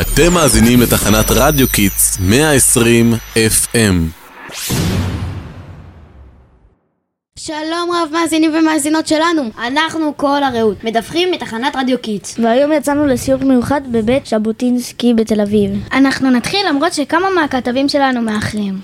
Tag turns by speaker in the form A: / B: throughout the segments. A: אתם מאזינים לתחנת רדיו קיטס 120 FM.
B: שלום רב מאזינים ומאזינות שלנו, אנחנו כל הרעות, מדווחים מתחנת רדיו קיטס.
C: והיום יצאנו לסיור מיוחד בבית ז'בוטינסקי בתל אביב. אנחנו נתחיל למרות שכמה מהכתבים שלנו מאחרים.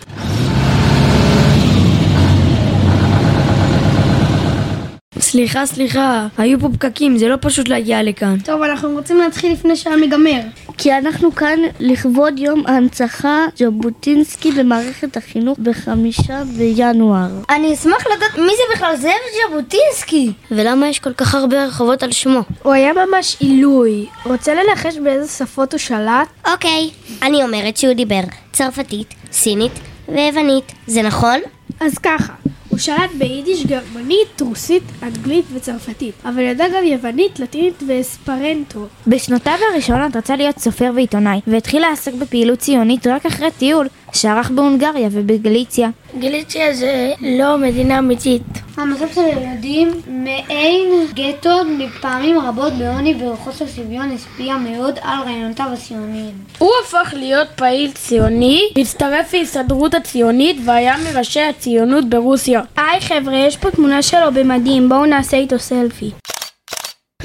D: סליחה, סליחה, היו פה פקקים, זה לא פשוט להגיע לכאן.
E: טוב, אנחנו רוצים להתחיל לפני שהעם ייגמר.
C: כי אנחנו כאן לכבוד יום ההנצחה ז'בוטינסקי במערכת החינוך בחמישה בינואר.
B: אני אשמח לדעת מי זה בכלל זאב ז'בוטינסקי.
C: ולמה יש כל כך הרבה רחובות על שמו?
E: הוא היה ממש עילוי. רוצה לנחש באיזה שפות הוא שלט?
F: אוקיי, אני אומרת שהוא דיבר צרפתית, סינית ויוונית. זה נכון?
E: אז ככה, הוא שלט ביידיש, גרמנית, רוסית, אנגלית וצרפתית, אבל ידע גם יוונית, לטינית ואספרנטו.
G: בשנותיו הראשונות רצה להיות סופר ועיתונאי, והתחיל לעסוק בפעילות ציונית רק אחרי טיול שערך בהונגריה ובגליציה.
D: גליציה זה לא מדינה אמיתית.
H: המצב של ילדים מעין גטו פעמים רבות בעוני ובחוסר שוויון השפיע מאוד על רעיונותיו הציוניים.
D: הוא הפך להיות פעיל ציוני, הצטרף להסתדרות הציונית והיה מראשי הציונות ברוסיה. היי חבר'ה, יש פה תמונה שלו במדים, בואו נעשה איתו סלפי.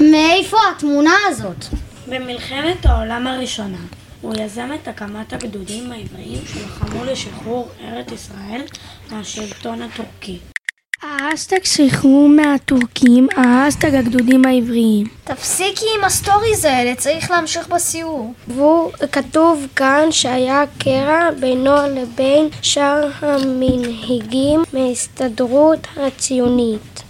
B: מאיפה התמונה הזאת?
I: במלחמת העולם הראשונה הוא יזם את הקמת הגדודים העבריים שלחמו לשחרור ארץ ישראל מהשלטון הטורקי.
D: האשטג שחרור מהטורקים, האשטג הגדודים העבריים.
B: תפסיקי עם הסטוריז האלה, צריך להמשיך בסיור.
D: והוא כתוב כאן שהיה קרע בינו לבין שאר המנהיגים מההסתדרות הציונית.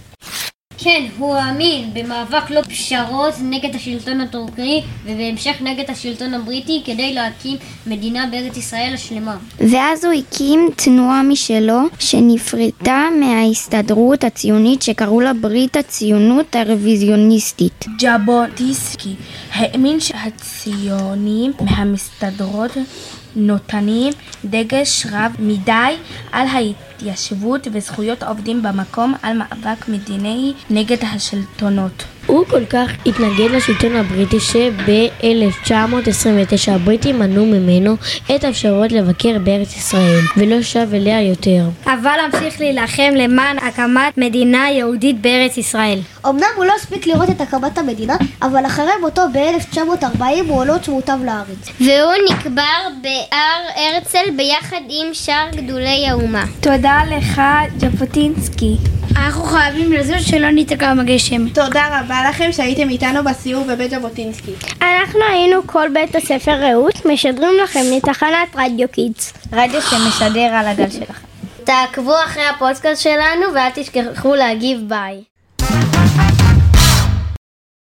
H: כן, הוא האמין במאבק לא פשרות נגד השלטון הטורקי ובהמשך נגד השלטון הבריטי כדי להקים מדינה בארץ ישראל השלמה.
G: ואז הוא הקים תנועה משלו, שנפרדה מההסתדרות הציונית שקראו לה ברית הציונות הרוויזיוניסטית.
D: ז'בוטיסקי האמין שהציונים מהמסתדרות נותנים דגש רב מדי על ההתיישבות וזכויות העובדים במקום על מאבק מדיני נגד השלטונות.
J: הוא כל כך התנגד לשלטון הבריטי שב-1929 הבריטים מנעו ממנו את האפשרות לבקר בארץ ישראל ולא שב אליה יותר.
B: אבל אמשיך להילחם למען הקמת מדינה יהודית בארץ ישראל.
F: אמנם הוא לא הספיק לראות את הקמת המדינה, אבל אחרי מותו ב-1940 הוא עולות שמוטב לארץ.
H: והוא נקבר בהר הרצל ביחד עם שאר גדולי האומה.
D: תודה לך, ז'בוטינסקי.
E: אנחנו חייבים לזוז שלא ניתקע בגשם.
I: תודה רבה לכם שהייתם איתנו בסיור בבית ז'בוטינסקי.
C: אנחנו היינו כל בית הספר רעות, משדרים לכם מתחנת רדיו קידס.
D: רדיו שמשדר על הגל שלכם.
B: תעקבו אחרי הפודקאסט שלנו ואל תשכחו להגיב ביי.